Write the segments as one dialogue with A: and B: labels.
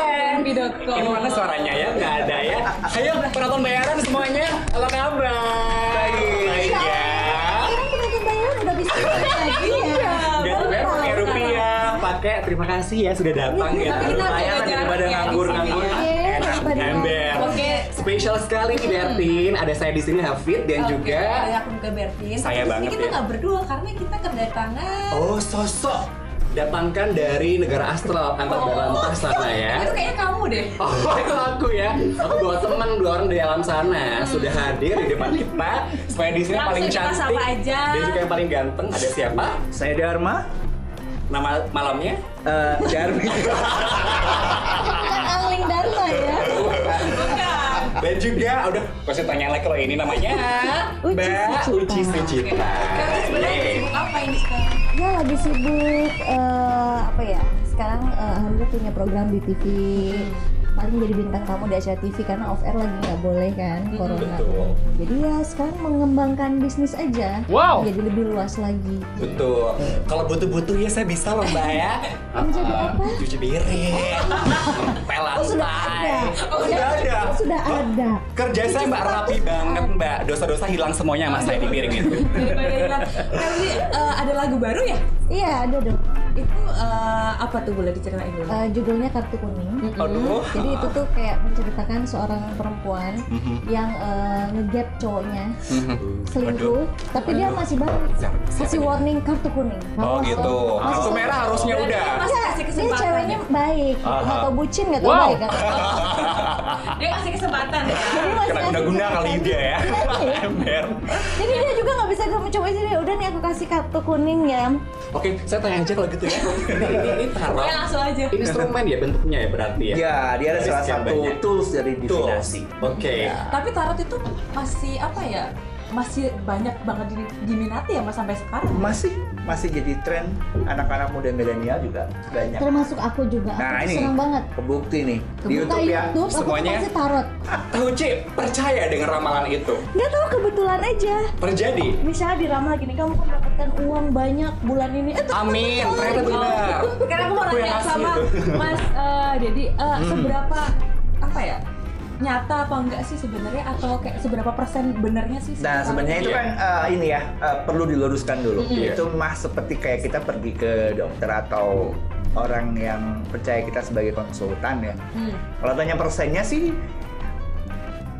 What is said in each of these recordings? A: Jambi.com.
B: Gimana suaranya ya? Nggak ada ya. Ayo penonton bayaran semuanya. Apa kabar? Baik ya.
C: Sekarang penonton bayaran udah bisa balik lagi
A: Iya,
C: ya.
B: Udah bayar pakai rupiah, pakai terima kasih ya sudah datang ya.
A: Tapi kita
B: Lumayan
A: jaga
B: daripada
A: jarak ya di
B: nganggur-nganggur.
A: sini
C: ya. Iya,
B: Enak
C: daripada
B: ember.
A: Oke.
B: Spesial sekali nih Bertin. Ada saya di sini Hafid dan
A: Oke,
B: juga
C: Ada aku juga Bertin.
B: Saya
C: Tapi di sini
B: banget
C: kita
B: ya.
C: nggak berdua karena kita kedatangan.
B: Oh sosok datangkan dari negara astral antar
A: Oh.
B: dalam tas sana ya.
A: Itu kayaknya kamu deh.
B: Oh, itu aku ya. Hmm. Aku bawa teman dua orang dari alam sana sudah hadir di depan kita supaya di sini
C: Langsung
B: paling
C: kita
B: cantik
C: sapa aja.
B: dan juga yang paling ganteng ada siapa?
D: Saya Dharma,
B: Nama malamnya?
D: eh, Darmi.
C: Bukan Angling Dharma ya.
A: Bukan.
B: Dan juga udah gak usah tanya lagi kalau ini namanya
C: Uci
B: Mbak
C: Sucita.
B: Uci Sucita.
A: Kamu sebenarnya lagi
B: Yeay.
A: sibuk apa ini sekarang?
C: Ya lagi sibuk eh, apa ya? Sekarang eh, Alhamdulillah punya program di TV. Paling jadi bintang tamu di acara TV karena off air lagi nggak boleh kan corona.
B: Betul.
C: Jadi ya sekarang mengembangkan bisnis aja.
D: Wow.
C: Jadi lebih luas lagi.
B: Betul. Kalau butuh-butuh ya saya bisa loh Mbak ya.
C: Menjadi
B: Ah,
C: apa?
B: Cuci piring. Pel lantai.
C: Oh, sudah ada.
B: Oh, sudah ada.
C: Sudah
B: Hah?
C: ada.
B: Kerja saya Mbak rapi banget Mbak. Dosa-dosa hilang semuanya Mas saya gitu. di piring itu.
A: Daripada hilang. Kali eh, ada lagu baru ya?
C: Iya ada dong.
A: Itu eh, apa tuh boleh diceritain dulu?
C: Eh, judulnya kartu kuning.
B: Aduh.
C: Jadi itu tuh kayak menceritakan seorang perempuan
B: Mm-hmm.
C: yang eh, ngegap cowoknya selingkuh, tapi dia masih banget kasih warning kartu kuning.
B: Oh
C: Awas,
B: gitu.
C: oh, masih
B: Kartu
C: sel-
B: merah harusnya udah.
A: Masih
C: Iya,
A: kasih
C: dia
A: kesempatan.
C: ceweknya baik,
B: Aha.
C: nggak tau bucin, nggak tau
D: Wow.
C: baik. nggak tahu-
A: Dia kasih kesempatan ya.
C: Jadi masih
B: Kena
C: kasih
B: guna-guna kali
C: kesempatan.
B: dia ya.
C: Iya.
B: Ember.
C: Jadi dia juga nggak bisa ketemu cowoknya, jadi udah nih aku kasih kartu kuning ya.
B: Oke, saya tanya aja kalau gitu ya. Ini ini ini taruh.
A: Ya langsung aja.
B: Instrumen ya bentuknya ya berarti ya.
D: ya, dia ada
B: Dari
D: salah
B: sekian
D: satu
B: banyak.
D: tools dari
B: Tuh.
D: divinasi.
B: Oke.
A: Tapi tarot itu masih apa ya? Masih banyak banget di- diminati ya mas sampai sekarang.
D: Masih masih jadi tren anak-anak muda milenial juga
B: Ya.
D: banyak.
C: Termasuk aku juga, aku
D: Nah,
C: tuh
D: ini
C: seneng banget.
D: kebukti nih di
C: Kebuka
D: YouTube ya.
C: YouTube, aku tuh
B: semuanya.
C: pasti tarot.
B: Tahu C, percaya dengan ramalan itu?
C: Nggak tahu kebetulan aja.
B: Terjadi.
C: misalnya diramal gini kamu akan mendapatkan uang banyak bulan ini eh, tetep
B: Amin,
C: betul.
B: ternyata benar.
A: Oh.
B: gitu.
A: Karena aku mau
B: Aku yang
A: nanya
B: ngasih
A: sama
B: itu.
A: Mas eh, Dedi, eh, seberapa apa ya? nyata apa enggak sih sebenarnya atau kayak seberapa persen benernya sih?
D: Nah sebenarnya itu
B: Iya.
D: kan eh, ini ya eh, perlu diluruskan dulu.
B: Iya.
D: Itu mah seperti kayak kita pergi ke dokter atau orang yang percaya kita sebagai konsultan ya.
A: Hmm.
D: Kalau tanya persennya sih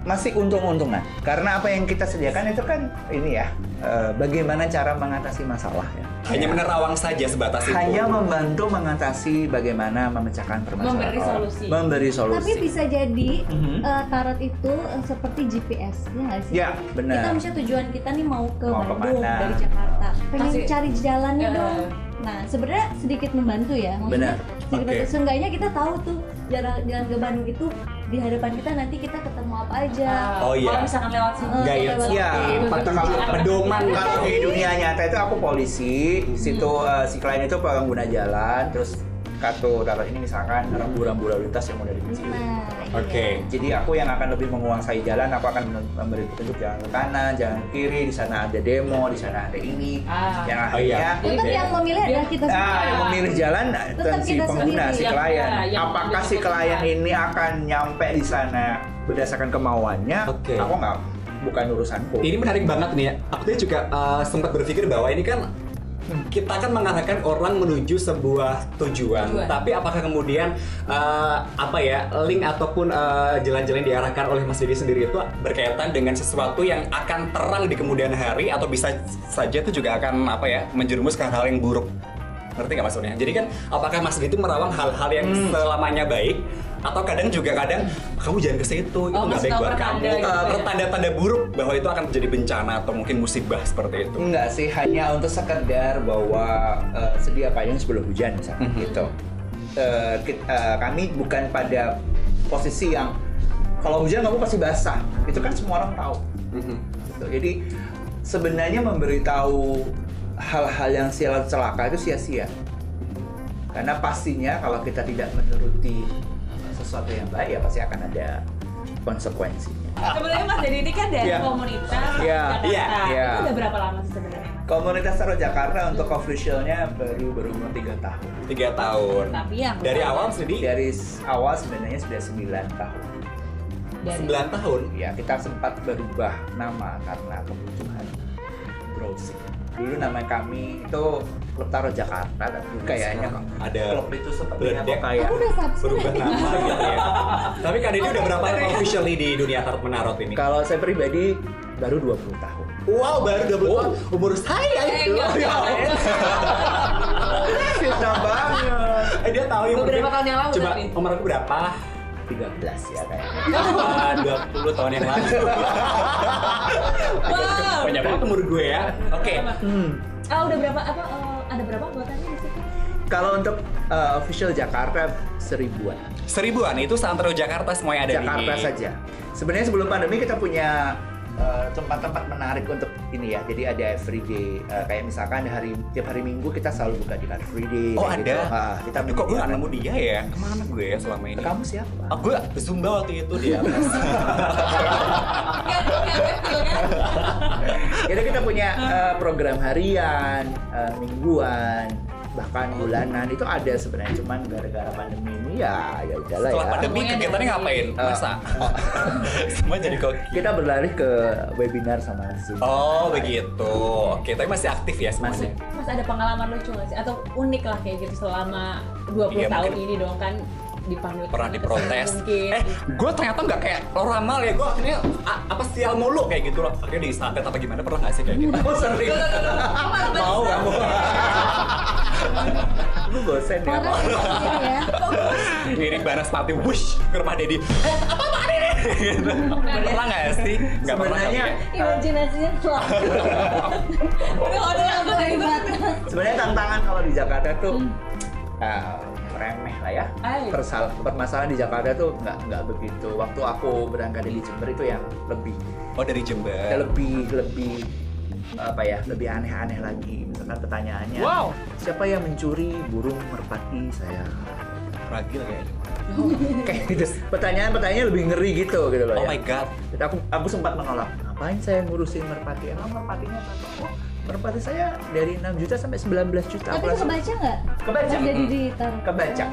D: masih untung-untungan. Karena apa yang kita sediakan itu kan ini ya eh, bagaimana cara mengatasi masalah ya.
B: Hanya menerawang saja sebatas itu.
D: hanya membantu mengatasi bagaimana memecahkan permasalahan.
A: Memberi
D: orang.
A: solusi.
D: Memberi solusi.
C: tapi bisa jadi
D: Mhm.
C: eh, tarot itu eh, seperti GPS ya nggak sih
D: Ya, benar.
C: kita misalnya tujuan kita nih mau ke
D: Mau ke
C: Bandung
D: mana?
C: dari Jakarta pengen
A: Kasih-
C: cari jalannya
A: Eh.
C: dong nah sebenarnya sedikit membantu ya maksudnya
D: Benar.
C: sedikit
B: Oke.
C: membantu. seenggaknya kita tahu tuh jalan jalan ke Bandung itu di hadapan kita nanti kita ketemu apa aja
A: Ah,
B: Oh, iya.
A: Kalau misalkan lewat sini. Iya.
C: Eh,
B: Gaya.
C: lewat- Nah,
D: Ya,
B: Atau kalau pedoman Hmm.
D: Kalau
B: kalau
D: di dunia nyata itu aku polisi, di situ eh, si klien itu pengguna jalan, terus kartu tarot ini misalkan rambu-rambu lalu lintas yang udah dikasih.
C: nah
B: Oke.
D: Jadi aku yang akan lebih menguasai jalan, aku akan men- memberi petunjuk jalan ke kanan, jalan ke kiri, di sana ada demo, di sana ada ini.
A: Ah.
D: Yang
B: Oh, iya.
D: akhirnya
C: tetap yang memilih adalah kita
D: Ah, yang memilih jalan dan si
C: kita
D: pengguna,
C: sendiri Iya,
D: si
A: yang-
D: klien.
A: ya, yang
D: Apakah si
A: memilih
D: klien
A: keputusan.
D: ini akan nyampe di sana berdasarkan kemauannya?
B: Oke.
D: Aku nggak, bukan urusanku.
B: Ini menarik banget nih ya. Aku tuh juga eh, sempat berpikir bahwa ini kan kita kan mengarahkan orang menuju sebuah tujuan,
A: Tujuan.
B: tapi apakah kemudian eh, apa ya link ataupun eh, jalan-jalan diarahkan oleh Mas Didi sendiri itu berkaitan dengan sesuatu yang akan terang di kemudian hari atau bisa saja itu juga akan apa ya menjerumus ke hal yang buruk, ngerti nggak maksudnya? Jadi kan apakah Mas Didi itu merawang hal-hal yang
A: Hmm.
B: selamanya baik atau kadang juga kadang kamu jangan ke situ itu
A: Oh,
B: nggak baik
A: masih tahu
B: buat kamu
A: pertanda
B: Eh,
A: gitu ya.
B: pertanda-tanda buruk bahwa itu akan terjadi bencana atau mungkin musibah seperti itu
D: Enggak sih, hanya untuk sekedar bahwa eh, sedia payung sebelum hujan misalnya gitu. Eh, kit- eh, kami bukan pada posisi yang kalau hujan kamu pasti basah. Itu kan semua orang tahu.
B: Mm-hmm.
D: Gitu. Jadi sebenarnya memberitahu hal-hal yang sial celaka itu sia-sia. Karena pastinya kalau kita tidak menuruti sesuatu yang baik ya pasti akan ada konsekuensinya.
A: Sebenarnya Mas Dedi ini kan dari
D: Iya.
A: komunitas
D: Iya,
A: Jakarta.
B: iya,
D: iya.
A: Itu udah berapa lama sih sebenarnya?
D: Komunitas Taro Jakarta untuk officialnya baru berumur 3 tahun.
B: tiga tahun
A: Tapi yang kan
B: dari awal sendiri
D: Dari s- awal sebenarnya sudah 9 tahun.
A: dari
B: 9 tahun
D: Ya, kita sempat berubah nama karena kebutuhan browsing. Dulu nama kami itu Klub Taro Jakarta, tapi kayaknya
B: Sekarang ada
D: klub itu sepertinya
B: meledak.
D: kok kayak
C: Aku udah subscribe.
B: berubah nama gitu ya tapi kan ini
A: Oh,
B: udah
A: iya.
B: berapa tahun officially di dunia tarot menarot ini
D: kalau saya pribadi baru 20 tahun.
B: wow baru 20 tahun umur saya
A: Eh,
B: itu
A: enggak.
B: Ya Allah.
D: Cinta banget.
B: eh dia tahu yang
A: Beberapa
B: penting.
A: tahun yang lalu
B: coba
A: tapi.
B: umur aku berapa
D: 13 ya kayaknya.
B: Ah, 20 tahun yang lalu
A: wow
B: banyak banget umur gue ya oke
D: Hmm.
A: ah udah berapa apa eh, ada berapa buatannya di situ
D: Kalau untuk eh, official Jakarta seribuan.
B: seribuan itu Santro Jakarta semuanya ada
D: Jakarta
B: di
D: saja. Sebenarnya sebelum pandemi kita punya eh, tempat-tempat menarik untuk ini ya. Jadi ada everyday eh, kayak misalkan hari tiap hari Minggu kita selalu buka di car free day.
B: Oh
D: kayak
B: ada?
D: Ah, kita
B: Tapi kok gue
D: menyediakan-
B: gak nemu dia ya? Kemana gue ya selama ini?
D: Kamu siapa?
B: Ah, gue Zumba waktu itu dia.
A: Nggak, nggak kecil kan
D: Jadi kita punya eh, program harian, eh, mingguan, bahkan
B: Oh.
D: bulanan itu ada sebenarnya cuman gara-gara pandemi ini ya ya udahlah
B: Setelah
D: ya.
B: pandemi
A: Semuanya
B: kegiatannya
A: dari-
B: ngapain?
D: Eh,
B: Masa? Oh. Semua jadi koki.
D: Kita berlari ke webinar sama Zoom.
B: Oh begitu. Oke, tapi masih aktif ya semuanya.
D: Masih.
A: Mas ada pengalaman lucu nggak sih? Atau unik lah kayak gitu selama 20
B: Iya,
A: tahun
B: mungkin.
A: ini dong kan dipanggil
B: Pernah
A: kesana,
B: diprotes.
A: kesini mungkin.
B: Eh, gue ternyata nggak kayak lo ramal ya. Gue akhirnya a- apa sial mulu kayak gitu loh. Akhirnya di Instagram apa gimana pernah nggak sih kayak gitu? Oh sering. Mau nggak mau?
D: Lu bosen ya.
C: Makasih ya.
B: Lirik Banaspati, wush ke rumah Deddy. Eh, apa apaan ini? Gitu. Pernah nggak sih? Nggak pernah. kali
D: ya? Sebenarnya
B: ya?
C: Imajinasinya telah.
A: Duh, aduh, aku lagi banget.
D: sebenarnya tantangan kalau di Jakarta tuh eh, remeh lah ya.
A: Ay.
D: Persal- permasalahan di Jakarta tuh nggak nggak begitu. Waktu aku berangkat dari Jember itu yang lebih
B: Oh dari Jember.
D: lebih lebih apa ya lebih aneh-aneh lagi misalkan pertanyaannya
B: Wow.
D: siapa yang mencuri burung merpati saya
B: Ragil gitu. kayaknya.
D: kayak gitu pertanyaan-pertanyaannya lebih ngeri gitu gitu
B: Oh
D: loh
B: my
D: ya.
B: god.
D: Jadi aku aku sempat menolak. Ngapain saya ngurusin merpati? Emang merpatinya apa? Oh, merpati saya dari 6 juta sampai 19 juta.
C: Tapi
D: Aku
C: itu
D: langsung-
C: kebaca nggak?
D: Kebaca. Hmm.
C: Pas jadi di tar-
D: Kebaca.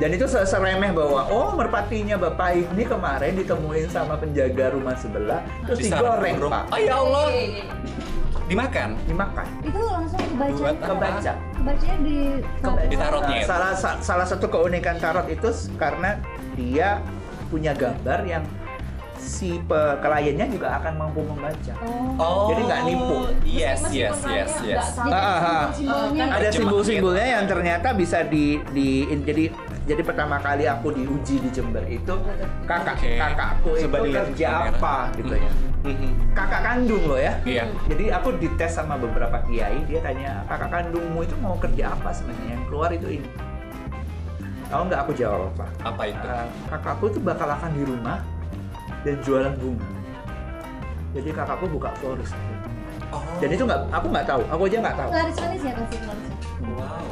D: Dan itu se- seremeh bahwa oh merpatinya bapak ini kemarin ditemuin sama penjaga rumah sebelah terus
B: Bisa
D: digoreng
B: burung.
D: pak,
B: Oh ya Allah.
A: Iya, iya, iya.
B: Dimakan.
D: dimakan,
C: Itu langsung kebaca.
B: Buat apa?
D: kebaca.
C: Kebacanya di
D: Kebaca.
B: Di tarotnya
D: Nah,
B: itu.
D: salah sa- salah satu keunikan tarot itu s- karena dia punya gambar yang si pe- kliennya juga akan mampu membaca.
C: Oh.
B: Oh.
D: Jadi nggak nipu.
B: Yes,
A: Meskipun
B: yes,
A: orangnya
B: yes, yes.
A: ya? nggak tahu.
C: Jadi
D: Ah, ah, ah.
C: simbol-simbolnya
A: Kan
D: ada
B: Terjemahan
D: simbol-simbolnya
B: gitu.
D: yang ternyata bisa di di in- jadi jadi pertama kali aku diuji di Jember itu kakak
B: Oke.
D: kakakku itu
B: Coba dilihat di
D: kerja
B: kamera.
D: apa gitu ya
B: Mhm.
D: kakak kandung loh ya
B: Iya.
D: jadi aku dites sama beberapa kiai dia tanya kakak kandungmu itu mau kerja apa sebenarnya yang keluar itu ini tahu nggak aku jawab apa
B: Apa itu?
D: Eh, kakakku itu bakal akan di rumah dan jualan bunga jadi kakakku buka florist
B: Oh.
D: dan itu nggak aku nggak tahu aku aja nggak tahu
C: laris-laris ya kasih
D: Hmm,
C: laris.
B: wow.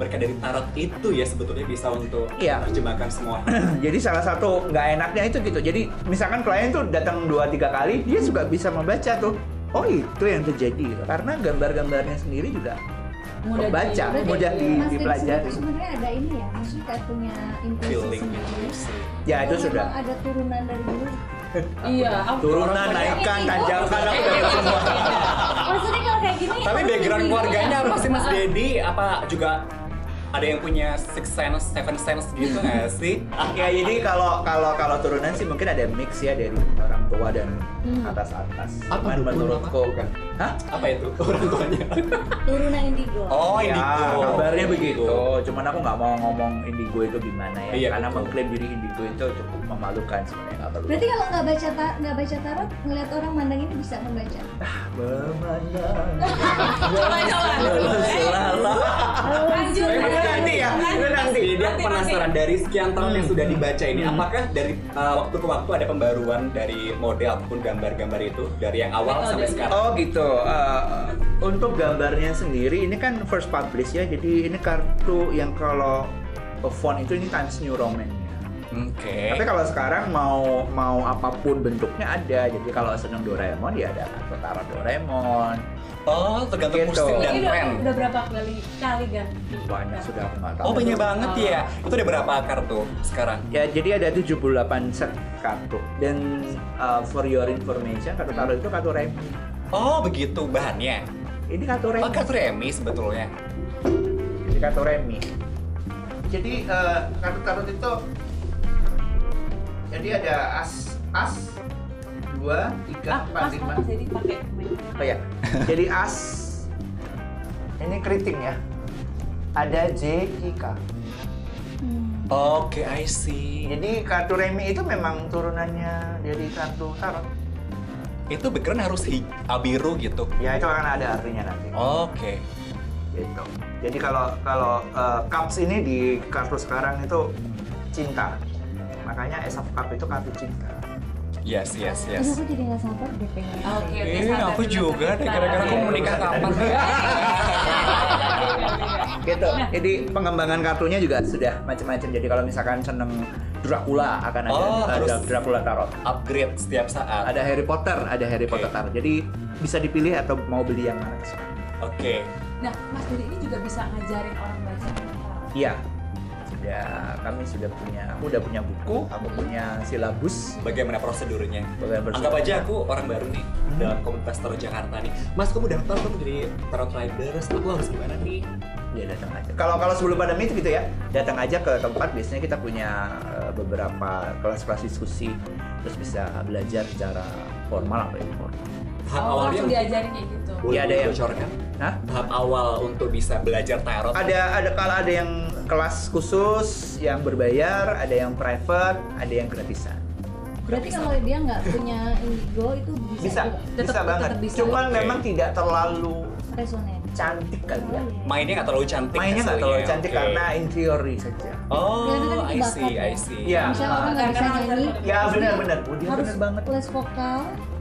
B: Berkat dari tarot itu ya sebetulnya bisa untuk
D: Iya.
B: menerjemahkan semua.
D: jadi salah satu nggak enaknya itu gitu jadi misalkan klien tuh datang dua tiga kali dia juga bisa membaca tuh oh itu yang terjadi gitu. karena gambar-gambarnya sendiri juga
A: Mudah
D: kebaca
A: di-
D: mudah
A: di-
C: Mas
D: di-
C: Deddy
D: dipelajari
C: sendiri sebenarnya ada ini ya, maksudnya kayak punya intuisi
B: Feeling gitu
C: sendiri.
B: sih.
D: ya itu
C: Atau
D: sudah
C: memang Iya, ada turunan dari dulu.
A: Iya, aku-
D: turunan naikkan tanjakan aku udah tahu semua
C: Maksudnya kalau kayak gini.
B: Tapi
C: orang
B: background
C: lebih-
B: keluarganya apa sih Mas Dedi? Apa juga ada yang punya six sense, seven sense gitu nggak sih?
D: ya jadi kalau kalau kalau turunan sih mungkin ada mix ya dari orang tua dan
C: Hmm.
D: atas atas
B: Apa
D: Cuman
B: dulu
D: menurutku kan hah
B: Apa itu orang tuanya?
C: Turunan indigo.
B: Oh,
D: ya,
B: indigo.
D: kabarnya begitu. Cuman aku nggak mau ngomong indigo itu gimana ya,
B: Iya,
D: karena
B: betul.
D: mengklaim diri indigo itu cukup memalukan sebenarnya nggak perlu.
C: Berarti kalau nggak baca ta- nggak baca tarot, ngeliat orang mandang ini bisa membaca.
D: Memandang
A: Coba, coba.
D: selalu.
A: Lanjut,
B: Memang
A: lanjut,
B: nanti ya,
A: lanjut.
B: itu nanti. Dia
A: Nanti,
B: penasaran dari sekian tahun yang sudah dibaca ini,
D: Hmm.
B: apakah dari uh, waktu ke waktu ada pembaruan dari model ataupun gambar-gambar itu dari yang awal
A: Metode.
B: sampai sekarang?
D: Oh gitu. Eh, untuk gambarnya sendiri ini kan first publish ya, jadi ini kartu yang kalau font itu ini Times New Roman.
B: Oke.
D: Tapi kalau sekarang mau mau apapun bentuknya ada. Jadi kalau seneng Doraemon ya ada perkara Doraemon.
B: Oh, tergantung
D: Gitu.
B: musim dan
A: Ini udah,
B: tren.
A: Iya, udah berapa kali kali ganti?
D: Banyak sudah aku nggak tahu.
B: Oh, banyak banget ya. Itu ada berapa akar tuh sekarang?
D: Ya jadi ada 78 set kartu. Dan uh, for your information kartu tarot itu kartu remi.
B: Oh, begitu bahannya.
D: Ini kartu remi.
B: Oh, kartu remi sebetulnya.
D: Jadi kartu remi. Jadi eh, kartu tarot itu jadi ada as as
A: Ah,
D: dua tiga
A: mas, mas, jadi pakai
D: Oh ya. Jadi as ini keriting ya. Ada J I K.
B: Oke, I
A: Iya.
B: see.
D: Jadi kartu remi itu memang turunannya dari kartu tarot.
B: Itu beneran harus hi- abiru gitu.
D: Ya itu akan ada artinya nanti.
B: Oke.
D: Gitu. Jadi kalau kalau eh, cups ini di kartu sekarang itu cinta. Makanya Ace of Cup itu kartu cinta.
B: Yes, yes, yes.
C: Aduh, aku jadi nggak sabar deh pengen.
A: Oke, oke.
B: Eh,
A: sabar
B: aku
A: dulu,
B: juga deh,
A: sabar.
B: gara-gara aku mau
A: Iya.
B: nikah kapan?
D: Gitu. Jadi pengembangan kartunya juga sudah macam-macam. Jadi kalau misalkan seneng Dracula akan ada,
B: Oh,
D: ada
B: harus.
D: Dracula tarot.
B: Upgrade setiap saat.
D: Ada Harry Potter, ada Harry
B: Oke.
D: Potter tarot. Jadi bisa dipilih atau mau beli yang mana.
B: Oke.
A: Nah, Mas Diri ini juga bisa ngajarin orang baca.
D: Iya. Sudah kami sudah punya, aku udah punya buku, aku punya silabus.
B: Bagaimana prosedurnya?
D: Bagaimana prosedurnya? Hmm.
B: Anggap aja aku orang baru nih dalam komunitas Tarot Jakarta nih. Mas, kamu daftar kamu jadi Tarot Riders, aku harus gimana nih?
D: Ya datang aja. Kalau kalau sebelum pandemi itu gitu ya, datang aja ke tempat. Biasanya kita punya eh, beberapa kelas-kelas diskusi, terus bisa belajar secara formal apa informal.
B: Tahap
A: Oh, langsung
B: awalnya Ya.
A: diajarin kayak gitu.
B: boleh
D: Iya, ada yang-
B: dibocorkan?
D: Hah?
B: Tahap awal untuk bisa belajar tarot.
D: Ada ada kalau ada yang kelas khusus yang berbayar, ada yang private, ada yang gratisan.
C: Berarti kalau dia nggak punya indigo itu bisa,
D: Bisa,
C: juga
D: bisa
A: Tetap-
D: banget.
A: tetap bisa.
D: Cuman
B: Oke.
D: memang tidak terlalu
C: resonen.
D: cantik kali
C: Oh, iya,
D: ya.
B: Mainnya nggak terlalu cantik.
D: Mainnya nggak terlalu
B: hasilnya,
D: cantik
B: oke.
D: karena in theory saja.
B: Oh,
C: Kelihatan kan
B: I see,
A: ya.
C: bakatnya.
B: I see.
D: Iya.
C: Bisa orang nggak bisa
A: Karena orang
C: nyanyi
A: terlalu-
D: Ya benar-benar, oh, dia
C: harus
D: benar banget.
C: les vokal.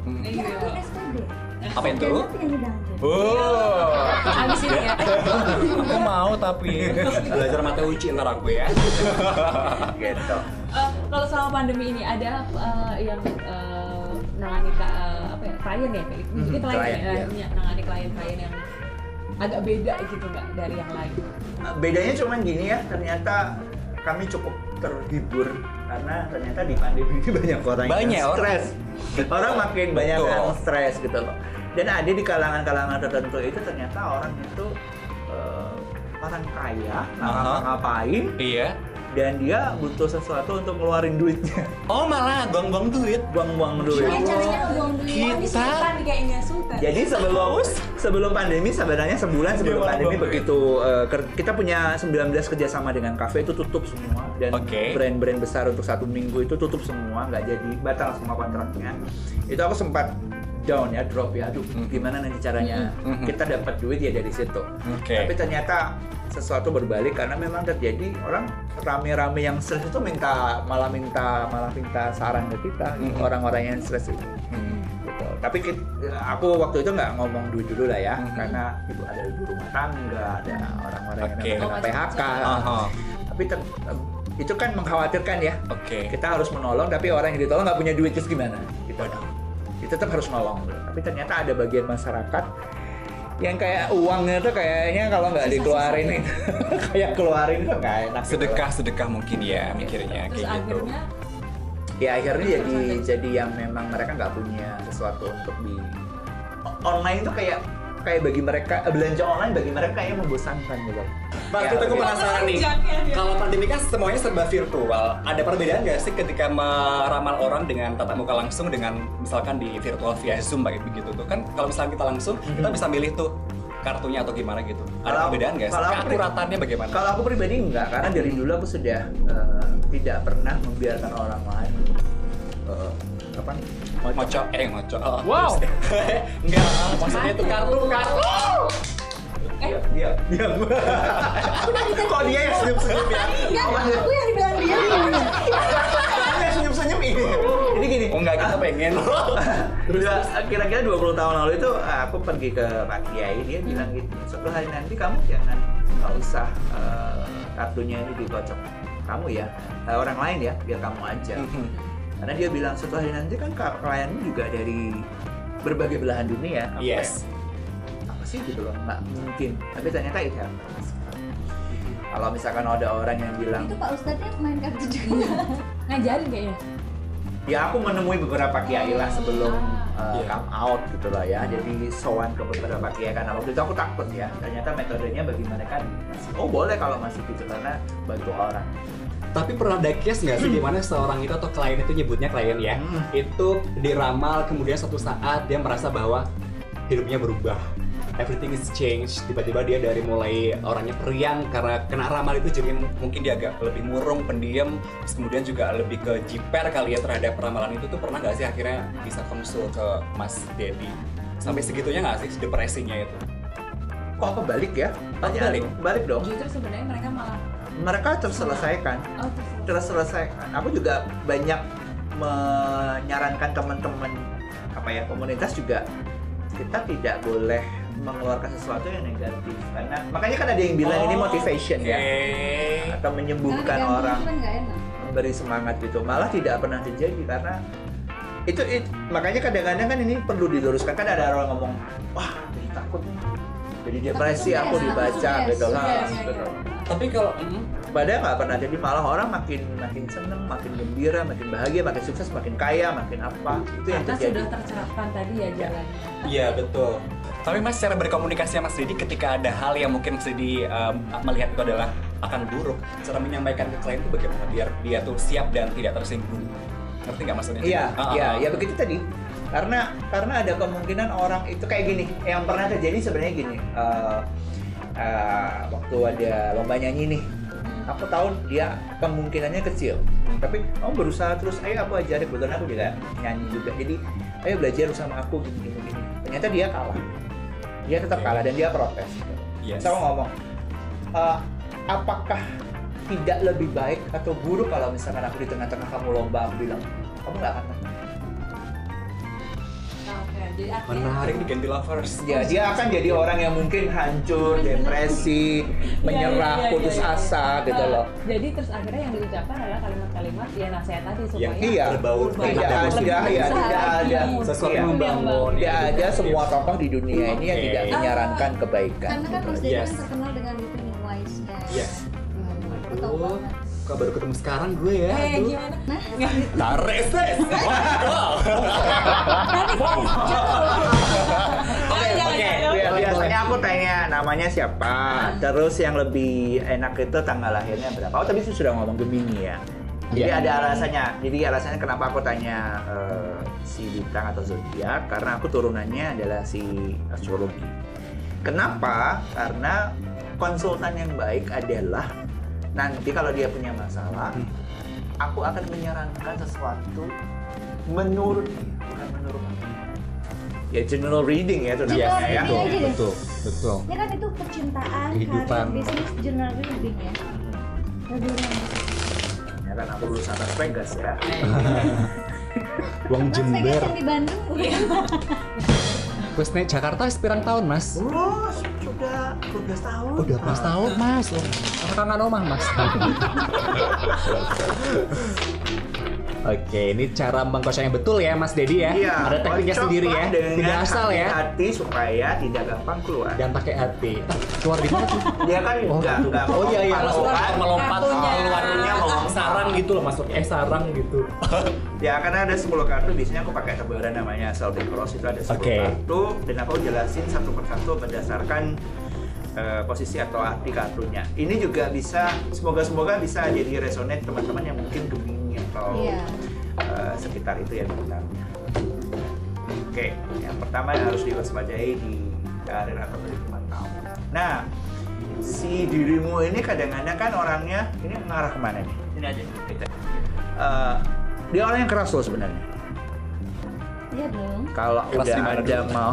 B: Hmm.
A: Iya.
C: Kan aku SKD.
B: Apa itu?
C: Dia penyanyi dangdut.
B: Oh,
A: Abis ini ya.
B: aku mau tapi belajar mata uci ntar aku ya.
D: Gitu.
A: Eh, kalau selama pandemi ini ada eh, yang eh, nangani ka- eh, apa ya klien ya kayak
B: Hmm,
D: Mhm,
A: kita klien,
D: klien,
A: ya,
D: iya.
A: iya, nangani klien-klien yang agak beda gitu nggak dari yang lain.
D: bedanya cuman gini ya ternyata kami cukup terhibur karena ternyata di pandemi ini banyak orang
B: Banyak
D: yang
B: orang.
D: stres orang makin banyak
B: Betul.
D: yang stres gitu loh dan ada di kalangan-kalangan tertentu itu ternyata orang itu eh, orang kaya nggak
B: Aha.
D: ngapa-ngapain
B: Iya.
D: dan dia butuh sesuatu untuk ngeluarin duitnya
B: Oh malah gong-gong duit.
D: buang-buang duit
A: Gimana Iya, caranya dong beli?
B: Kita-
A: Oh, ini sultan nih kayaknya sultan.
D: Jadi sebelum sebelum pandemi sebenarnya sebulan sebelum
B: Gimana,
D: pandemi
B: Bang?
D: begitu eh, ker- kita punya 19 kerjasama dengan kafe itu tutup semua dan
B: Oke.
D: brand-brand besar untuk satu minggu itu tutup semua nggak jadi batal semua kontraknya itu aku sempat down ya drop ya aduh
B: Mhm.
D: gimana nanti caranya
B: Mhm.
D: kita dapat duit ya dari situ
B: Oke.
D: tapi ternyata sesuatu berbalik karena memang terjadi orang rame-rame yang stres itu minta malah minta malah minta saran ke kita gitu,
B: Mhm.
D: orang-orang yang stres itu
B: Hmm.
D: gitu. Tapi kit- aku waktu itu nggak ngomong duit dulu lah ya,
B: Mhm.
D: karena ibu ada ibu rumah tangga, ada orang-orang
B: Oke.
D: yang namanya
A: Oh,
D: PHK.
B: Aha.
D: Tapi ter- itu kan mengkhawatirkan ya.
B: Oke.
D: Kita harus menolong, tapi orang yang ditolong nggak punya duit terus gimana? Gitu.
B: Waduh.
D: Kita tetap harus nolong. Tapi ternyata ada bagian masyarakat yang kayak uangnya tuh kayaknya kalau nggak dikeluarin itu kayak keluarin tuh nggak enak. gitu.
B: Sedekah sedekah mungkin ya mikirnya kayak
A: Terus
B: gitu.
A: akhirnya
D: ya akhirnya jadi jadi yang memang mereka nggak punya sesuatu untuk di O- online itu kayak kayak bagi mereka eh, belanja online bagi mereka yang membosankan gitu.
B: Pak,
D: Ya,
B: kita aku
D: oke.
B: penasaran nih.
A: Pajaknya dia.
B: Kalau pandemi kan semuanya serba virtual. Ada perbedaan nggak sih ketika meramal orang dengan tatap muka langsung dengan misalkan di virtual via Zoom kayak begitu tuh kan? Kalau misalkan kita langsung, kita bisa milih tuh kartunya atau gimana gitu. Ada
D: Kalau-
B: perbedaan nggak sih?
D: kalau aku-
B: Keakuratannya bagaimana?
D: Kalau aku pribadi enggak karena dari dulu aku sudah eh, tidak pernah membiarkan orang lain eh, apa nih?
B: Ngocok, eh ngocok. Oh,
D: Wow.
B: terus. Enggak, maksudnya itu kartu kartu.
D: Diam, diam, diam. Kok dia yang senyum-senyum ya?
C: Enggak, aku yang dibilang dia.
D: Dia yang senyum-senyum ini. Jadi gini.
B: Oh enggak, kita pengen.
D: Dua- kira-kira 20 tahun lalu itu eh, aku pergi ke Pak Kiai dia bilang gitu suatu hari nanti kamu jangan nggak usah eh, kartunya ini dikocok kamu ya eh, orang lain ya biar kamu aja
B: Mhm.
D: karena dia bilang suatu hari nanti kan klienmu juga dari berbagai belahan dunia Aku
B: Yes.
D: kayak, apa sih gitu loh nggak mungkin tapi ternyata itu kalau misalkan ada orang yang bilang
C: Itu gitu, Pak Ustadznya main kartu juga.
A: ngajarin kayaknya
D: ya aku menemui beberapa kiai lah sebelum uh,
B: Iya.
D: come out gitu lah ya jadi sowan ke beberapa kiai karena waktu itu aku takut ya ternyata metodenya bagi mereka masih oh boleh kalau masih gitu karena bantu orang
B: Tapi pernah ada case nggak sih dimana seorang itu atau klien itu nyebutnya klien ya,
D: Hmm.
B: itu diramal kemudian suatu saat dia merasa bahwa hidupnya berubah. Everything is changed. Tiba-tiba dia dari mulai orangnya periang karena kena ramal itu jadi m- mungkin dia agak lebih murung, pendiam, terus kemudian juga lebih ke jiper kali ya terhadap ramalan itu tuh pernah nggak sih akhirnya bisa konsul ke Mas Dedi sampai segitunya nggak sih depresinya itu?
D: kok apa balik ya
B: Apa balik? Iya.
D: balik dong
A: justru sebenarnya mereka malah
D: mereka terselesaikan
A: oh terus
D: terselesaikan aku juga banyak menyarankan teman-teman apa ya komunitas juga kita tidak boleh mengeluarkan sesuatu yang negatif karena makanya kan ada yang bilang ini
B: Oh,
D: motivation ya
B: oke.
D: atau
C: Karena
D: menyembuhkan
C: diganggu
D: orang
C: Kan nggak enak.
D: memberi semangat gitu malah tidak pernah terjadi karena itu, it- makanya kadang-kadang kan ini perlu diluruskan kan ada orang ngomong wah jadi takut nih jadi depresi
C: Takut
D: aku
A: ya.
C: stres,
D: dibaca
C: stres,
D: gitu
C: stres,
D: Nah,
A: iya,
D: betul.
B: Tapi kalau mm,
D: padahal nggak pernah jadi malah orang makin makin seneng makin gembira makin bahagia makin sukses makin kaya makin apa itu yang
A: karena
D: terjadi
A: sudah tercerahkan tadi ya jalannya
B: Iya betul. Tapi mas cara berkomunikasi sama Mas Didi ketika ada hal yang mungkin Mas Didi um, melihat itu adalah akan buruk, cara menyampaikan ke klien itu bagaimana biar dia tuh siap dan tidak tersinggung. Ngerti nggak maksudnya?
D: Iya,
B: Ah,
D: iya,
B: ah,
D: ya
B: ah.
D: begitu tadi. Karena karena ada kemungkinan orang itu kayak gini. Yang pernah terjadi sebenarnya gini. eh, eh, waktu ada lomba nyanyi nih, aku tahu dia kemungkinannya kecil. Tapi kamu berusaha terus, ayo aku ajarin. Kebetulan aku juga nyanyi juga. Jadi ayo belajar sama aku gini gini. gini. Ternyata dia kalah. Dia tetap kalah dan dia protes.
B: Yes.
D: Saya mau ngomong, "Eh, apakah tidak lebih baik atau buruk kalau misalkan aku di tengah-tengah kamu lomba aku bilang kamu nggak akan menang.
A: Nah, oke jadi artinya
B: Menarik nih ganti lovers.
D: Ya, dia akan jadi orang yang mungkin hancur, depresi,
A: Iya, iya,
D: menyerah,
A: iya,
D: putus
A: iya, iya.
D: asa gitu
A: Nah,
D: loh.
A: jadi terus akhirnya yang diucapkan adalah kalimat-kalimat ya nasihat tadi supaya
D: iya.
B: berbau
A: Berbau.
D: Tidak
B: berbau-
D: ada,
A: Lebih
D: ya,
A: besar
D: tidak
A: lagi.
D: ada.
B: sesuatu
D: Iya.
B: yang membangun.
D: Tidak
B: ya,
D: ada
B: gitu.
D: semua tokoh di dunia ini yang
B: Oke.
D: tidak menyarankan kebaikan.
C: Karena kan
D: gitu.
C: Mas Dedi
B: Yes.
C: kan terkenal dengan living wise kan.
B: Yes.
C: Hmm, Aku tahu
B: Oh,
C: banget.
B: kok baru ketemu sekarang gue ya?
A: eh
B: aduh.
A: gimana
C: Nah,
B: Tarik ses. Wow.
A: Jangan, jangan,
B: oke.
A: jangan.
D: Iya,
B: Boleh,
D: biasanya aku tanya namanya siapa, terus yang lebih enak itu tanggal lahirnya berapa. Oh, tapi itu sudah ngomong Gemini ya. Jadi
B: Iya.
D: ada alasannya. Jadi alasannya kenapa aku tanya eh, si bintang atau zodiak karena aku turunannya adalah si astrologi. Kenapa? Karena konsultan yang baik adalah nanti kalau dia punya masalah,
B: Hmm.
D: aku akan menyarankan sesuatu menurut dia, bukan menurut aku. Ya general reading ya itu
C: Iya,
D: namanya ya.
C: betul. Iya, iya.
B: betul, betul.
C: ini kan itu percintaan,
B: Kehidupan.
C: karir, bisnis, journal reading ya. Lebih
D: Ya kan aku lulusan Las Vegas ya.
B: Wong
C: Las Vegas yang di Bandung
D: Iya.
C: bukan?
B: Terus naik Jakarta sepirang tahun mas?
D: Oh, sudah 12 tahun. Nah.
B: Udah pas Oh, tahun mas. Apa kangen omah mas? Oke, ini cara mengkosongnya betul ya Mas Dedi ya.
D: Iya.
B: Ada tekniknya
D: kocok
B: sendiri ya.
D: dengan
B: Tidak asal ya.
D: Hati supaya tidak gampang keluar.
B: Dan pakai hati. Keluar gimana tuh?
D: Dia kan
B: Oh,
D: enggak enggak
B: oh iya iya.
D: melompat, eh,
A: Melompat,
B: melompat
A: Kartunya.
B: keluarnya melompat sarang gitu loh masuk eh sarang gitu.
D: Ya karena ada 10 kartu biasanya aku pakai tebaran namanya asal cross itu ada 10
B: Oke.
D: kartu dan aku jelasin satu per satu berdasarkan eh, posisi atau arti kartunya. Ini juga bisa semoga-semoga bisa jadi resonate teman-teman yang mungkin gemini atau
C: Iya.
D: eh, sekitar itu ya sebenarnya. Oke, yang pertama yang harus diwaspadai di karir atau kehidupan kamu. Nah, si dirimu ini kadang-kadang kan orangnya ini mengarah kemana nih? Ini aja. kita. Eh, dia orang yang keras loh sebenarnya.
C: Iya dong.
D: Kalau
B: Keras
D: udah
B: di mana
D: ada
B: dulu?
D: mau.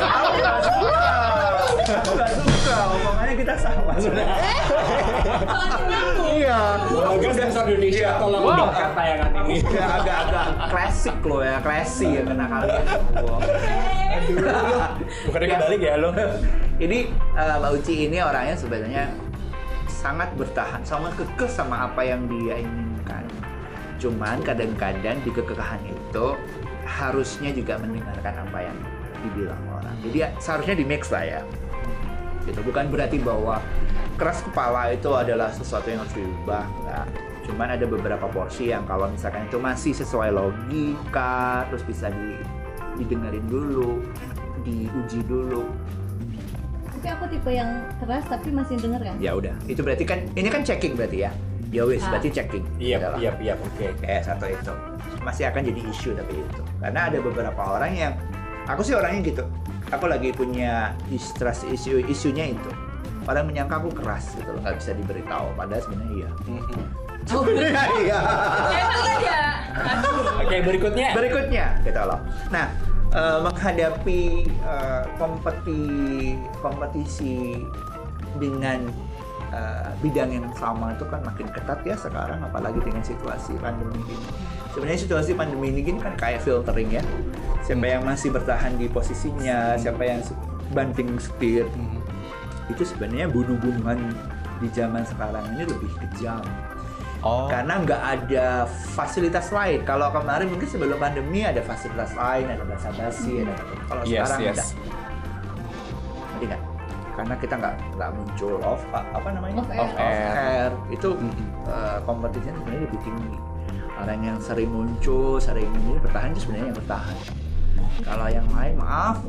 D: Aku nggak suka. Aku nggak suka. Omongannya kita sama sebenarnya. Iya.
B: Bagus sensor Indonesia tolong wow. kata yang ini.
D: Udah agak-agak klasik loh ya, classy ya kena kalian.
B: Bukan kebalik ya lo.
D: Ini eh, Mbak Uci ini orangnya sebenarnya sangat bertahan sama kekeh sama apa yang dia inginkan. Cuman kadang-kadang di kekekahan itu harusnya juga mendengarkan apa yang dibilang orang. Jadi ya, seharusnya di mix lah ya. Gitu. Bukan berarti bahwa keras kepala itu adalah sesuatu yang harus diubah, enggak. Cuman ada beberapa porsi yang kalau misalkan itu masih sesuai logika, terus bisa di, didengerin dulu, diuji dulu,
C: Tapi aku tipe yang keras tapi masih denger kan?
D: ya udah itu berarti kan ini kan checking berarti ya ya wis
A: Ah.
D: berarti checking
B: Iya,
D: Adalah.
B: iya, iya, oke.
D: kayak satu itu masih akan jadi isu tapi itu karena ada beberapa orang yang aku sih orangnya gitu aku lagi punya distrust isu isunya itu orang menyangka aku keras gitu loh nggak bisa diberitahu padahal sebenarnya iya
B: Mm-mm.
A: Oh,
D: Iya, iya
A: emang iya.
B: Oke, berikutnya.
D: berikutnya kita loh nah eh, menghadapi eh, kompeti kompetisi dengan eh, bidang yang sama itu kan makin ketat ya sekarang apalagi dengan situasi pandemi ini sebenarnya situasi pandemi ini kan kayak filtering ya siapa yang masih bertahan di posisinya siapa yang se- banting setir
B: Mm.
D: itu sebenarnya bunuh-bunuhan di zaman sekarang ini lebih kejam
B: Oh.
D: karena nggak ada fasilitas lain. Kalau kemarin mungkin sebelum pandemi ada fasilitas lain, ada bahasa basi, ada kalau
B: Yes,
D: sekarang
B: yes.
D: tidak. Ngerti nggak? Karena kita nggak nggak muncul off apa namanya
C: Off air.
B: Off air.
D: air. itu
B: Mm-mm.
D: eh, kompetisinya sebenarnya lebih tinggi. Orang yang sering muncul, sering ini bertahan itu sebenarnya yang bertahan. Kalau yang lain maaf,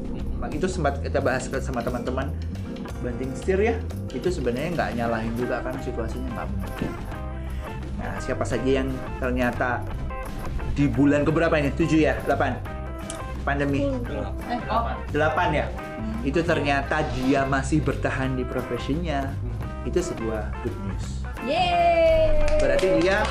D: Nah, itu sempat kita bahas ke- sama teman-teman banting setir ya. Itu sebenarnya nggak nyalahin juga karena situasinya nggak mungkin. Nah, siapa saja yang ternyata di bulan keberapa ini? 7 ya? 8? Pandemi.
A: Eh, oh.
D: 8 ya? Itu ternyata dia masih bertahan di profesinya. Itu sebuah good news.
C: Yeay!
D: Berarti dia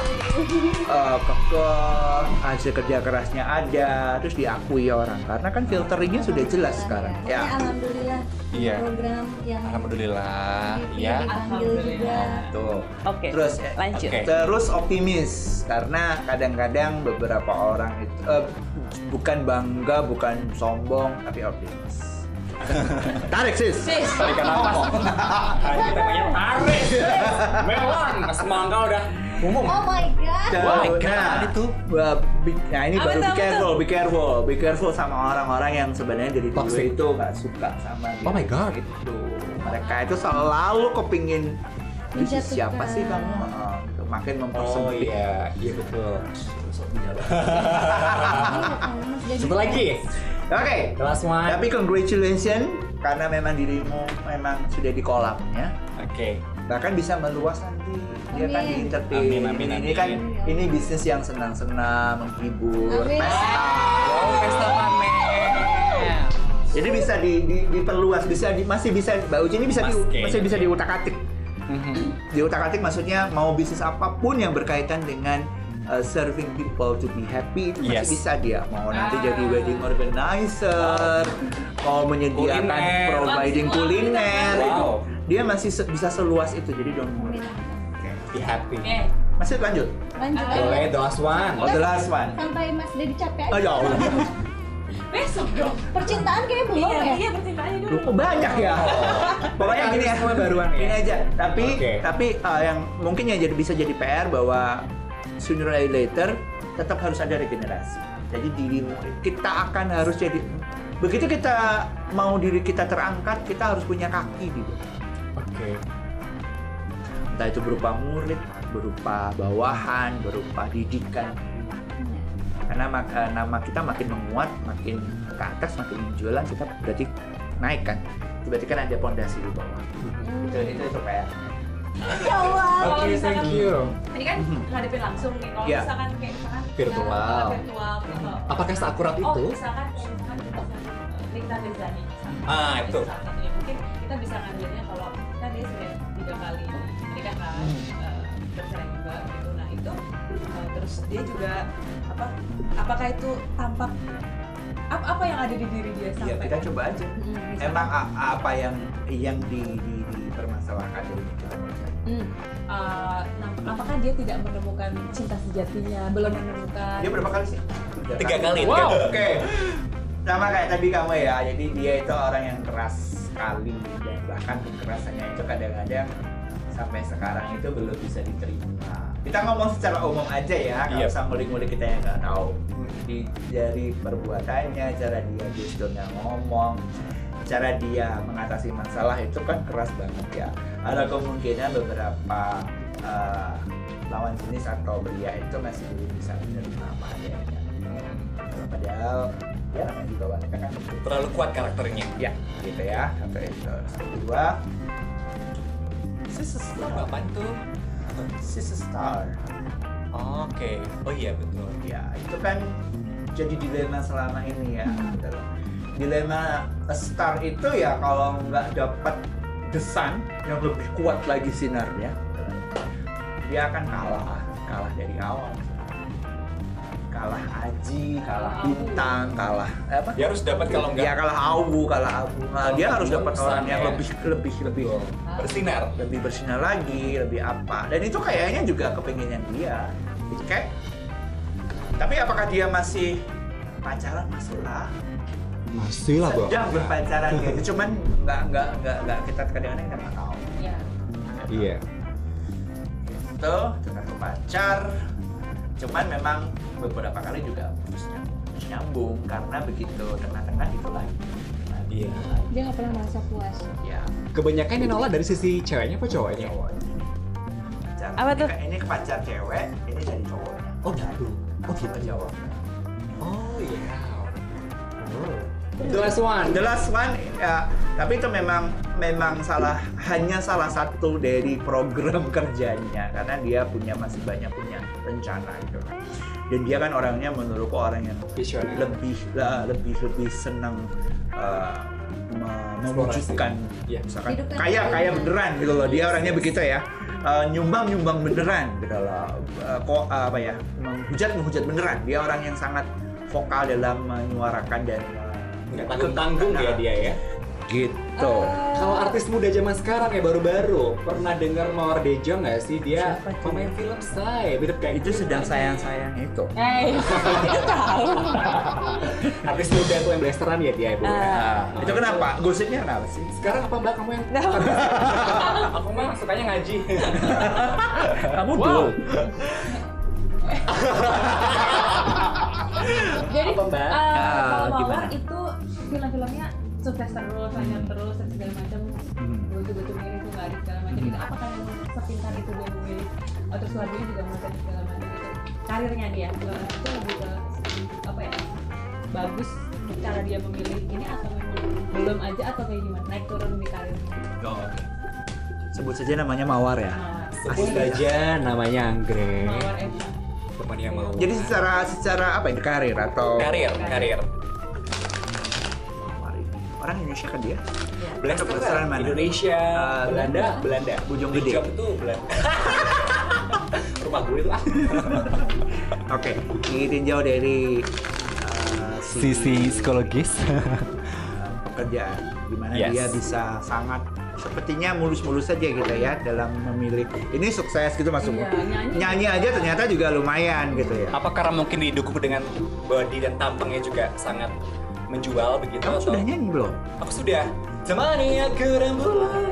D: eh, kekeh, hasil kerja kerasnya ada, terus diakui orang. Karena kan filteringnya sudah jelas sekarang.
C: Ya.
D: Ya,
C: Alhamdulillah.
B: Iya.
C: Program yang
B: Alhamdulillah,
C: di-
D: Iya.
B: ya.
C: dipanggil juga.
D: tuh.
A: Oke.
D: Terus, eh,
A: lanjut.
B: oke.
D: Terus optimis karena kadang-kadang beberapa orang itu eh, bukan bangga, bukan sombong, tapi optimis. Tarik sis.
A: Sis.
B: Tarikan nafas. Tadi temanya tarik. Melon, semangka udah umum.
C: Oh my god.
D: Tuh,
B: Wah, God,
D: nah,
B: itu.
D: wah, bi- nah, ini
A: Apa
D: baru
A: tuh,
D: be
A: apa
D: careful, be careful, be careful sama orang-orang yang sebenarnya dari dulu
B: Toxic.
D: itu nggak suka sama dia.
B: Oh my God.
D: Itu mereka itu selalu kepingin "Ini
C: Menjatuhkan.
D: siapa sih kamu? Ah, gitu. Makin
B: Oh
D: mempersempit.
B: iya, iya betul.
C: Ini Mas jadi-
B: Satu lagi.
D: Oke.
B: The last one.
D: Tapi congratulations karena memang dirimu memang sudah di kolam ya.
B: Oke.
D: Bahkan bisa meluas nanti. Dia kan
C: Amin. Iya.
D: di entertain.
B: Amin, amin, amin.
D: Ini kan ini bisnis yang senang-senang, menghibur,
C: Amin.
D: pesta.
B: Oh,
D: Jadi bisa di- di- diperluas, bisa di- masih bisa Mbak Uci ini bisa di-
B: Mas, kayaknya.
D: masih bisa diutak-atik. Diutak-atik maksudnya mau bisnis apapun yang berkaitan dengan uh, serving people to be happy itu masih
B: Yes.
D: bisa dia mau nanti
A: Ah.
D: jadi wedding organizer, mau menyediakan
B: Kuliner.
D: providing
A: Langsung
D: kuliner,
B: langsung.
D: itu.
B: Wow.
D: dia masih se- bisa seluas itu jadi dong.
C: Amin.
B: Be happy.
A: Eh,
D: Masih lanjut.
C: Lanjut
B: Boleh,
C: aja.
B: the last one.
D: Oh, the last one.
C: Sampai Mas Dedi capek
D: Oh
C: aja.
D: ya Allah,
A: besok dong.
C: Percintaan kayaknya belum
A: Iya,
C: ya?
A: iya berceritanya dulu.
D: Duh, kok
B: Oh,
D: banyak
B: iya.
D: ya. Pokoknya
B: Ini
D: gini ya,
B: semua baruan ya?
D: Ini aja. Tapi
B: Oke.
D: tapi uh, yang mungkin ya jadi bisa jadi PR bahwa sooner or later tetap harus ada regenerasi. Jadi dirimu kita akan harus jadi begitu kita mau diri kita terangkat, kita harus punya kaki gitu.
B: Oke.
D: Entah itu berupa murid, berupa bawahan, berupa didikan. Karena mak- eh, nama kita makin menguat, makin ke atas, makin menjualan, kita berarti naik kan. Itu Berarti kan ada pondasi di bawah. Itu itu itu PR.
C: Ya Allah.
A: Kalau
B: Oke, thank
A: misalkan-
B: you. Mm-hmm.
A: Ini kan ngadepin langsung nih. Kalau
D: Iya.
A: misalkan kayak misalkan
B: Virtual.
A: kalau virtual atau
B: Apakah seakurat
A: Oh,
B: itu?
A: misalkan kayak misalkan kita bisa, eh, Rita Rezani. misalkan.
B: Ah, itu.
A: salah satunya. Mungkin kita bisa ngambilnya kalau kita dia sudah tiga kali nikah kan, eh,
B: Hmm.
A: bercerai juga gitu. Nah itu eh, terus dia juga apa? Apakah itu tampak apa, apa yang ada di diri dia sampai?
D: Iya, kita coba aja.
A: bisa.
D: Emang a- a- apa yang yang di, di, dipermasalahkan dari kita?
A: Hmm. Eh, nah, apakah dia tidak menemukan cinta sejatinya? Belum menemukan?
D: Dia berapa kali sih?
B: Tiga kali. tiga
D: Wow.
B: kali.
D: Oke. Sama kayak tadi kamu ya. Jadi dia itu orang yang keras sekali dan bahkan kekerasannya itu kadang-kadang sampai sekarang itu belum bisa diterima. Kita ngomong secara umum aja ya, nggak
B: Iya.
D: usah ngulik-ngulik kita yang nggak tahu. Di, dari perbuatannya, cara dia gesturnya ngomong, cara dia mengatasi masalah itu kan keras banget ya. Ada kemungkinan beberapa eh, lawan jenis atau pria itu masih belum bisa menerima apa adanya. Padahal ya namanya juga wanita kan
B: terlalu kuat karakternya
D: ya gitu ya satu itu Terus kedua
B: sis sis apaan tuh
D: sis star
B: oke oh iya betul
D: ya itu kan jadi dilema selama ini ya gitu loh. dilema a star itu ya kalau nggak dapat desan yang lebih kuat lagi sinarnya gitu loh, dia akan kalah kalah dari awal kalah aji kalah bintang kalah apa
B: dia harus dapat kalau
D: ya
B: nggak ya.
D: kalah abu kalah abu nah, dia harus dapat orang yang lebih lebih lebih
A: Ah,
B: bersinar
D: lebih bersinar lagi, lebih apa. Dan itu kayaknya juga kepinginan dia. Jadi Kayak, tapi apakah dia masih pacaran masih lah?
B: masih
D: Sedang berpacaran gitu. Cuman nggak nggak nggak nggak kita kadang-kadang kita nggak tahu.
A: ya
B: iya
D: Itu tetap Gitu. pacar. Cuman memang beberapa kali juga putus nyambung, putus nyambung karena begitu tengah-tengah itu lagi.
B: Iya.
C: Dia nggak pernah merasa puas.
D: Ya,
B: kebanyakan yang nolak dari sisi ceweknya apa cowoknya
D: cowoknya. Pacar-
A: Apa tuh?
D: Ini ke pacar cewek, ini dari cowoknya.
B: oh gitu oh gitu
D: Jawab.
B: oh iya The last one.
D: The last one, ya, tapi itu memang memang salah hanya salah satu dari program kerjanya karena dia punya masih banyak punya rencana gitu. Dan dia kan orangnya menurutku orang yang
B: Visioner.
D: lebih lah, lebih lebih senang uh, me-
B: Eksplorasi.
D: mewujudkan
B: Iya.
D: misalkan
C: Hidup kan
D: kaya
C: kayak
D: kaya
C: gitu.
D: beneran gitu loh dia orangnya begitu ya Uh, nyumbang nyumbang beneran gitu loh Uh, kok uh, apa ya menghujat menghujat beneran dia orang yang sangat vokal dalam menyuarakan dan uh,
B: Nggak tanggung-tanggung ya dia ya.
D: gitu
B: Kalau artis muda zaman sekarang ya baru-baru pernah dengar Mawar Dejo nggak sih dia
D: Siapa itu?
B: pemain film saya mirip kayak
D: Ah. itu sedang sayang sayang itu
A: eh itu tahu
B: artis muda tuh yang blasteran ya dia ibu.
A: Ah.
B: Nah,
D: itu kenapa gosipnya kenapa sih
B: Sekarang apa mbak kamu yang? Aku mah sukanya ngaji.
D: kamu
B: Wow.
D: dong
A: jadi
B: Apa, Mbak?
A: eh,
D: Ah,
A: kalau
D: gimana? Hmm.
A: mawar itu film-filmnya sukses terus sayang terus dan segala macam betul-betul mirip tuh nggak segala macam
D: Hmm.
A: gitu apakah memang sepintar itu dia memilih oh, terus lagunya juga macam segala macam gitu karirnya dia segala macam itu lebih ke apa ya bagus cara dia memilih ini atau memang belum aja atau kayak gimana naik turun di karirnya
D: sebut saja namanya mawar ya
A: mawar
B: Sebut aja namanya Anggrek.
A: mawar Eva
B: Temannya mau.
D: jadi secara secara apa ini karir atau
B: karir, karir.
D: Mawar ini. orang Indonesia kan dia
B: Blasteran
D: Blasteran mana?
B: Iya. Indonesia,
D: Eh,
B: Belanda, Belanda.
D: Bojong
B: Di
D: Gede.
B: Job itu Belanda. Rumah gue itu ah.
D: Oke, ditinjau dari uh, si-
B: psikologis.
D: uh, pekerjaan, gimana
B: Yes.
D: dia bisa sangat sepertinya mulus-mulus saja gitu ya dalam memilih ini sukses gitu maksudnya
A: Iya, nyanyi.
D: nyanyi aja ternyata juga lumayan gitu ya.
B: Apa karena mungkin didukung dengan body dan tampangnya juga sangat menjual begitu?
D: Kamu
B: atau-
D: sudah nyanyi belum?
B: Aku sudah. Temani aku dan bulan.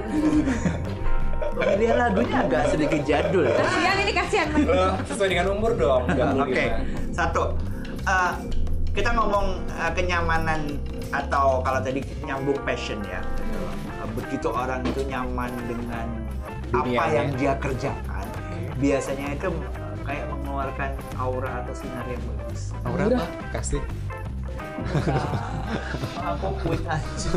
D: Pemilihan lagunya agak sedikit jadul. ya.
A: kasihan ini kasihan
B: Loh, Eh, sesuai dengan umur dong.
D: Oke,
B: 35.
D: satu. Uh, kita ngomong uh, kenyamanan atau kalau tadi nyambung passion ya. Uh, begitu orang itu nyaman dengan apa
B: Dunianya.
D: yang dia kerjakan, biasanya itu uh, kayak mengeluarkan aura atau sinar yang bagus.
B: Aura apa? Kasih.
D: Ah, Aku quit aja.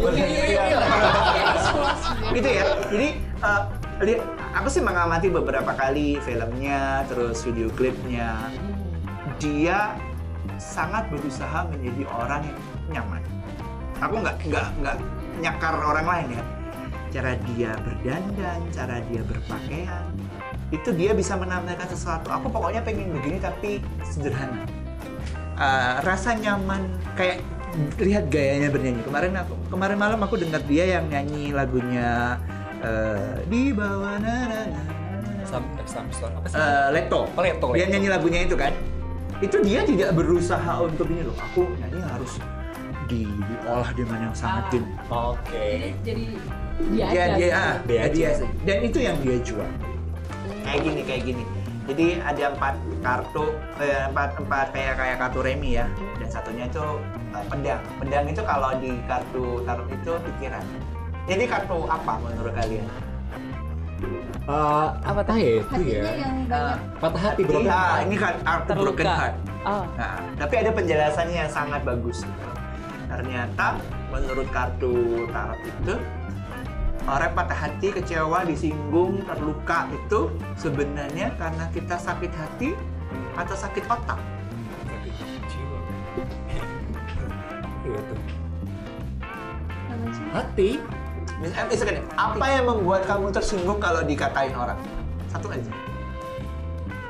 B: Iya, iya, iya, iya.
D: gitu ya. Jadi uh, li- aku sih mengamati beberapa kali filmnya, terus video klipnya. dia sangat berusaha menjadi orang yang nyaman. Aku nggak nggak nggak nyakar orang lain ya. Cara dia berdandan, cara dia berpakaian, itu dia bisa menampilkan sesuatu. Aku pokoknya pengen begini tapi sederhana. Eh, rasa nyaman kayak lihat gayanya bernyanyi. Kemarin aku kemarin malam aku dengar dia yang nyanyi lagunya eh, di bawah na na na na na.
B: Sam, eh, Samson apa sih?
D: Eh, Leto.
B: Oh, Leto,
D: Dia
B: Leto.
D: nyanyi lagunya itu kan. Itu dia tidak berusaha untuk ini loh. Aku nyanyi harus di- diolah dengan yang
A: Ah.
D: sangat din.
B: Oke.
A: jadi jadi Dia
D: dia
A: aja.
D: dia ah,
B: Dia
D: dia
B: aja.
D: sih. dan itu yang dia jual kayak gini kayak gini jadi ada empat kartu eh, empat empat kayak kayak kartu remi ya dan satunya itu eh, pedang pedang itu kalau di kartu tarot itu pikiran jadi kartu apa menurut kalian
B: Eh, apa tahu ya itu ya?
C: Hatinya yang banyak.
B: Patah hati bro.
D: Iya, ini kan kartu
A: Terluka.
D: broken heart
A: Oh.
D: Nah, tapi ada penjelasannya yang sangat bagus. Ternyata menurut kartu tarot itu orang patah hati, kecewa, disinggung, terluka itu sebenarnya karena kita sakit hati atau sakit otak.
B: Iya tuh.
C: Apa sih?
B: Hati.
D: Misalnya, eh, misalkan, ya, apa yang membuat kamu tersinggung kalau dikatain orang? Satu aja.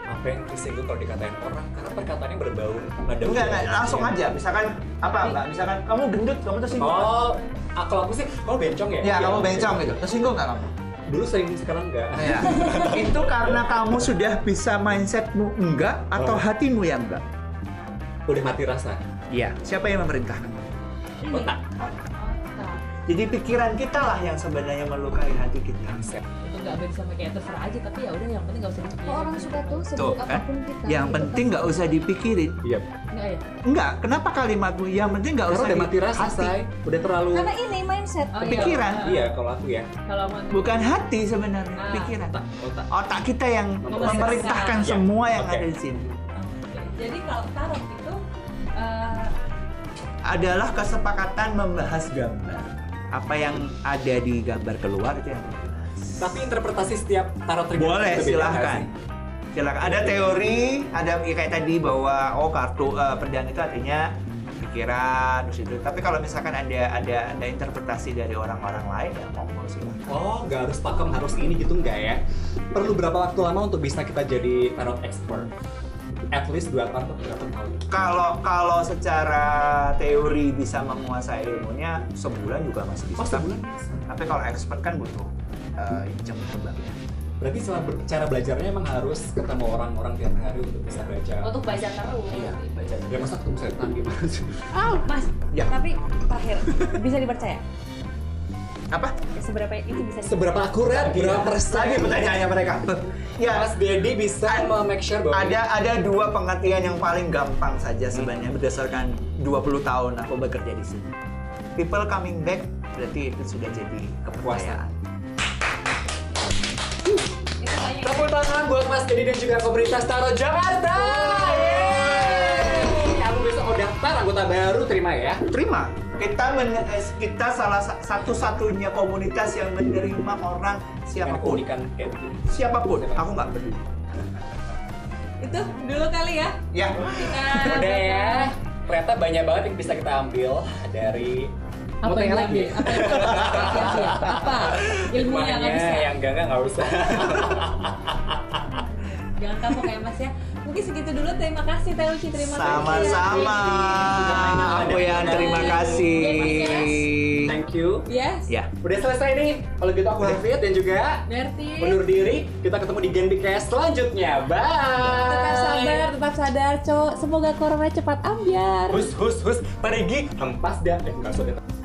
B: Apa yang tersinggung kalau dikatain orang? Karena perkataannya berbau Iya. pada.
D: Enggak, enggak, langsung
B: ya?
D: aja. Misalkan apa, Mbak? Misalkan kamu gendut, kamu tersinggung.
B: Oh, ah, kalau aku sih, kamu bencong ya?
D: Ya, kamu bencong gitu. Tersinggung nggak kamu?
B: Dulu sering, sekarang enggak.
D: Ya. itu karena kamu sudah bisa mindsetmu enggak
B: Oh.
D: atau hatimu yang enggak.
B: Udah mati rasa. Oh,
D: Iya. Siapa yang memerintahkan?
C: Ini.
B: Otak.
A: Otak.
D: Jadi pikiran kita lah yang sebenarnya melukai hati kita.
B: Konsep.
A: Itu nggak bisa pakai terserah aja tapi ya udah yang penting nggak usah dipikirin.
C: Kok orang suka tuh
D: Tuh
C: sebut
D: kan.
C: apapun kita.
D: Yang
C: gitu
D: penting nggak usah dipikirin.
B: Iya.
A: Nggak ya?
D: Enggak. Kenapa kalimatmu? Yang penting nggak
B: Karena
D: usah gitu.
B: udah
D: di-
B: mati rasa,
D: hati.
B: say. Udah terlalu.
C: kan. Karena ini mindset.
A: Oh, iya.
D: Pikiran.
B: Iya, kalau aku ya.
A: Kalau mau
D: Bukan hati sebenarnya,
A: Ah.
D: pikiran.
B: Otak, otak.
D: Otak kita yang
B: Memerintahkan.
D: memerintahkan
B: Nah, Iya.
D: semua yang
B: Oke.
D: ada di sini.
A: Oke. Jadi kalau tarot itu eh,
D: Adalah kesepakatan membahas gambar. Apa yang ada di gambar keluar itu yang
B: Tapi interpretasi setiap tarot trigger
D: Boleh,
B: itu beda
D: silahkan.
B: nggak sih?
D: Silakan. Ada teori, ada ya kayak tadi bahwa oh kartu eh, pedang itu artinya pikiran terus itu. Tapi kalau misalkan ada ada ada interpretasi dari orang-orang lain ya monggo silakan.
B: Oh, nggak harus pakem harus ini gitu nggak ya? Perlu berapa waktu lama untuk bisa kita jadi tarot expert? At least 2 tahun atau 3 tahun.
D: Kalau kalau secara teori bisa menguasai ilmunya sebulan juga masih bisa.
B: Oh, sebulan?
D: Tapi kalau expert kan butuh eh, jam terbang.
B: Berarti cara, cara belajarnya emang harus ketemu orang-orang tiap hari untuk bisa baca.
A: untuk baca terus.
D: Iya, baca.
B: Ya masa ketemu setan
D: gitu?
B: gimana sih?
C: Oh, Mas.
D: Ya.
C: Tapi terakhir bisa dipercaya. Ya,
D: Apa?
C: Seberapa itu bisa dipercaya?
B: Seberapa akurat? Berapa
D: Lagi
B: persen?
D: pertanyaannya mereka. ya,
B: Mas Dedi bisa
D: Ad-
B: memake sure bahwa
D: ada ada dua pengertian yang paling gampang saja sebenarnya berdasarkan 20 tahun aku bekerja di sini. People coming back berarti itu sudah jadi kepercayaan.
A: Itu banyak.
B: Tepuk tangan buat Mas Dedi dan juga komunitas Tarot Jakarta. Yeay! Aku besok mau daftar anggota baru terima ya.
D: Terima. Kita men- eh, kita salah sa- satu-satunya komunitas yang menerima orang
B: Dengan
D: siapapun.
B: keunikan kayak begini.
D: Siapapun. Aku nggak peduli.
A: Itu dulu kali ya.
D: Ya.
A: Kita
B: Udah ya. Ternyata banyak banget yang bisa kita ambil dari Mau
A: Apa yang
B: tanya
A: lagi? Apa yang lagi? Apa? Ilmunya nggak
B: Hikmahnya
A: bisa.
B: ya, yang enggak enggak nggak usah.
A: Jangan kapok ya Mas ya. Mungkin segitu dulu. Terima kasih Teh Uci. Terima kasih.
D: Sama-sama. Aku yang terima kasih.
B: Thank you.
A: Yes.
D: Ya.
B: Udah selesai nih. Kalau gitu aku David dan juga
A: Berarti
B: undur diri. Kita ketemu di Genbi Cast selanjutnya. Bye.
A: tetap sabar, tetap sadar, cowok. Semoga corona cepat ambiar.
B: Hus hus hus pergi hempas dah. Eh, enggak usah, dah.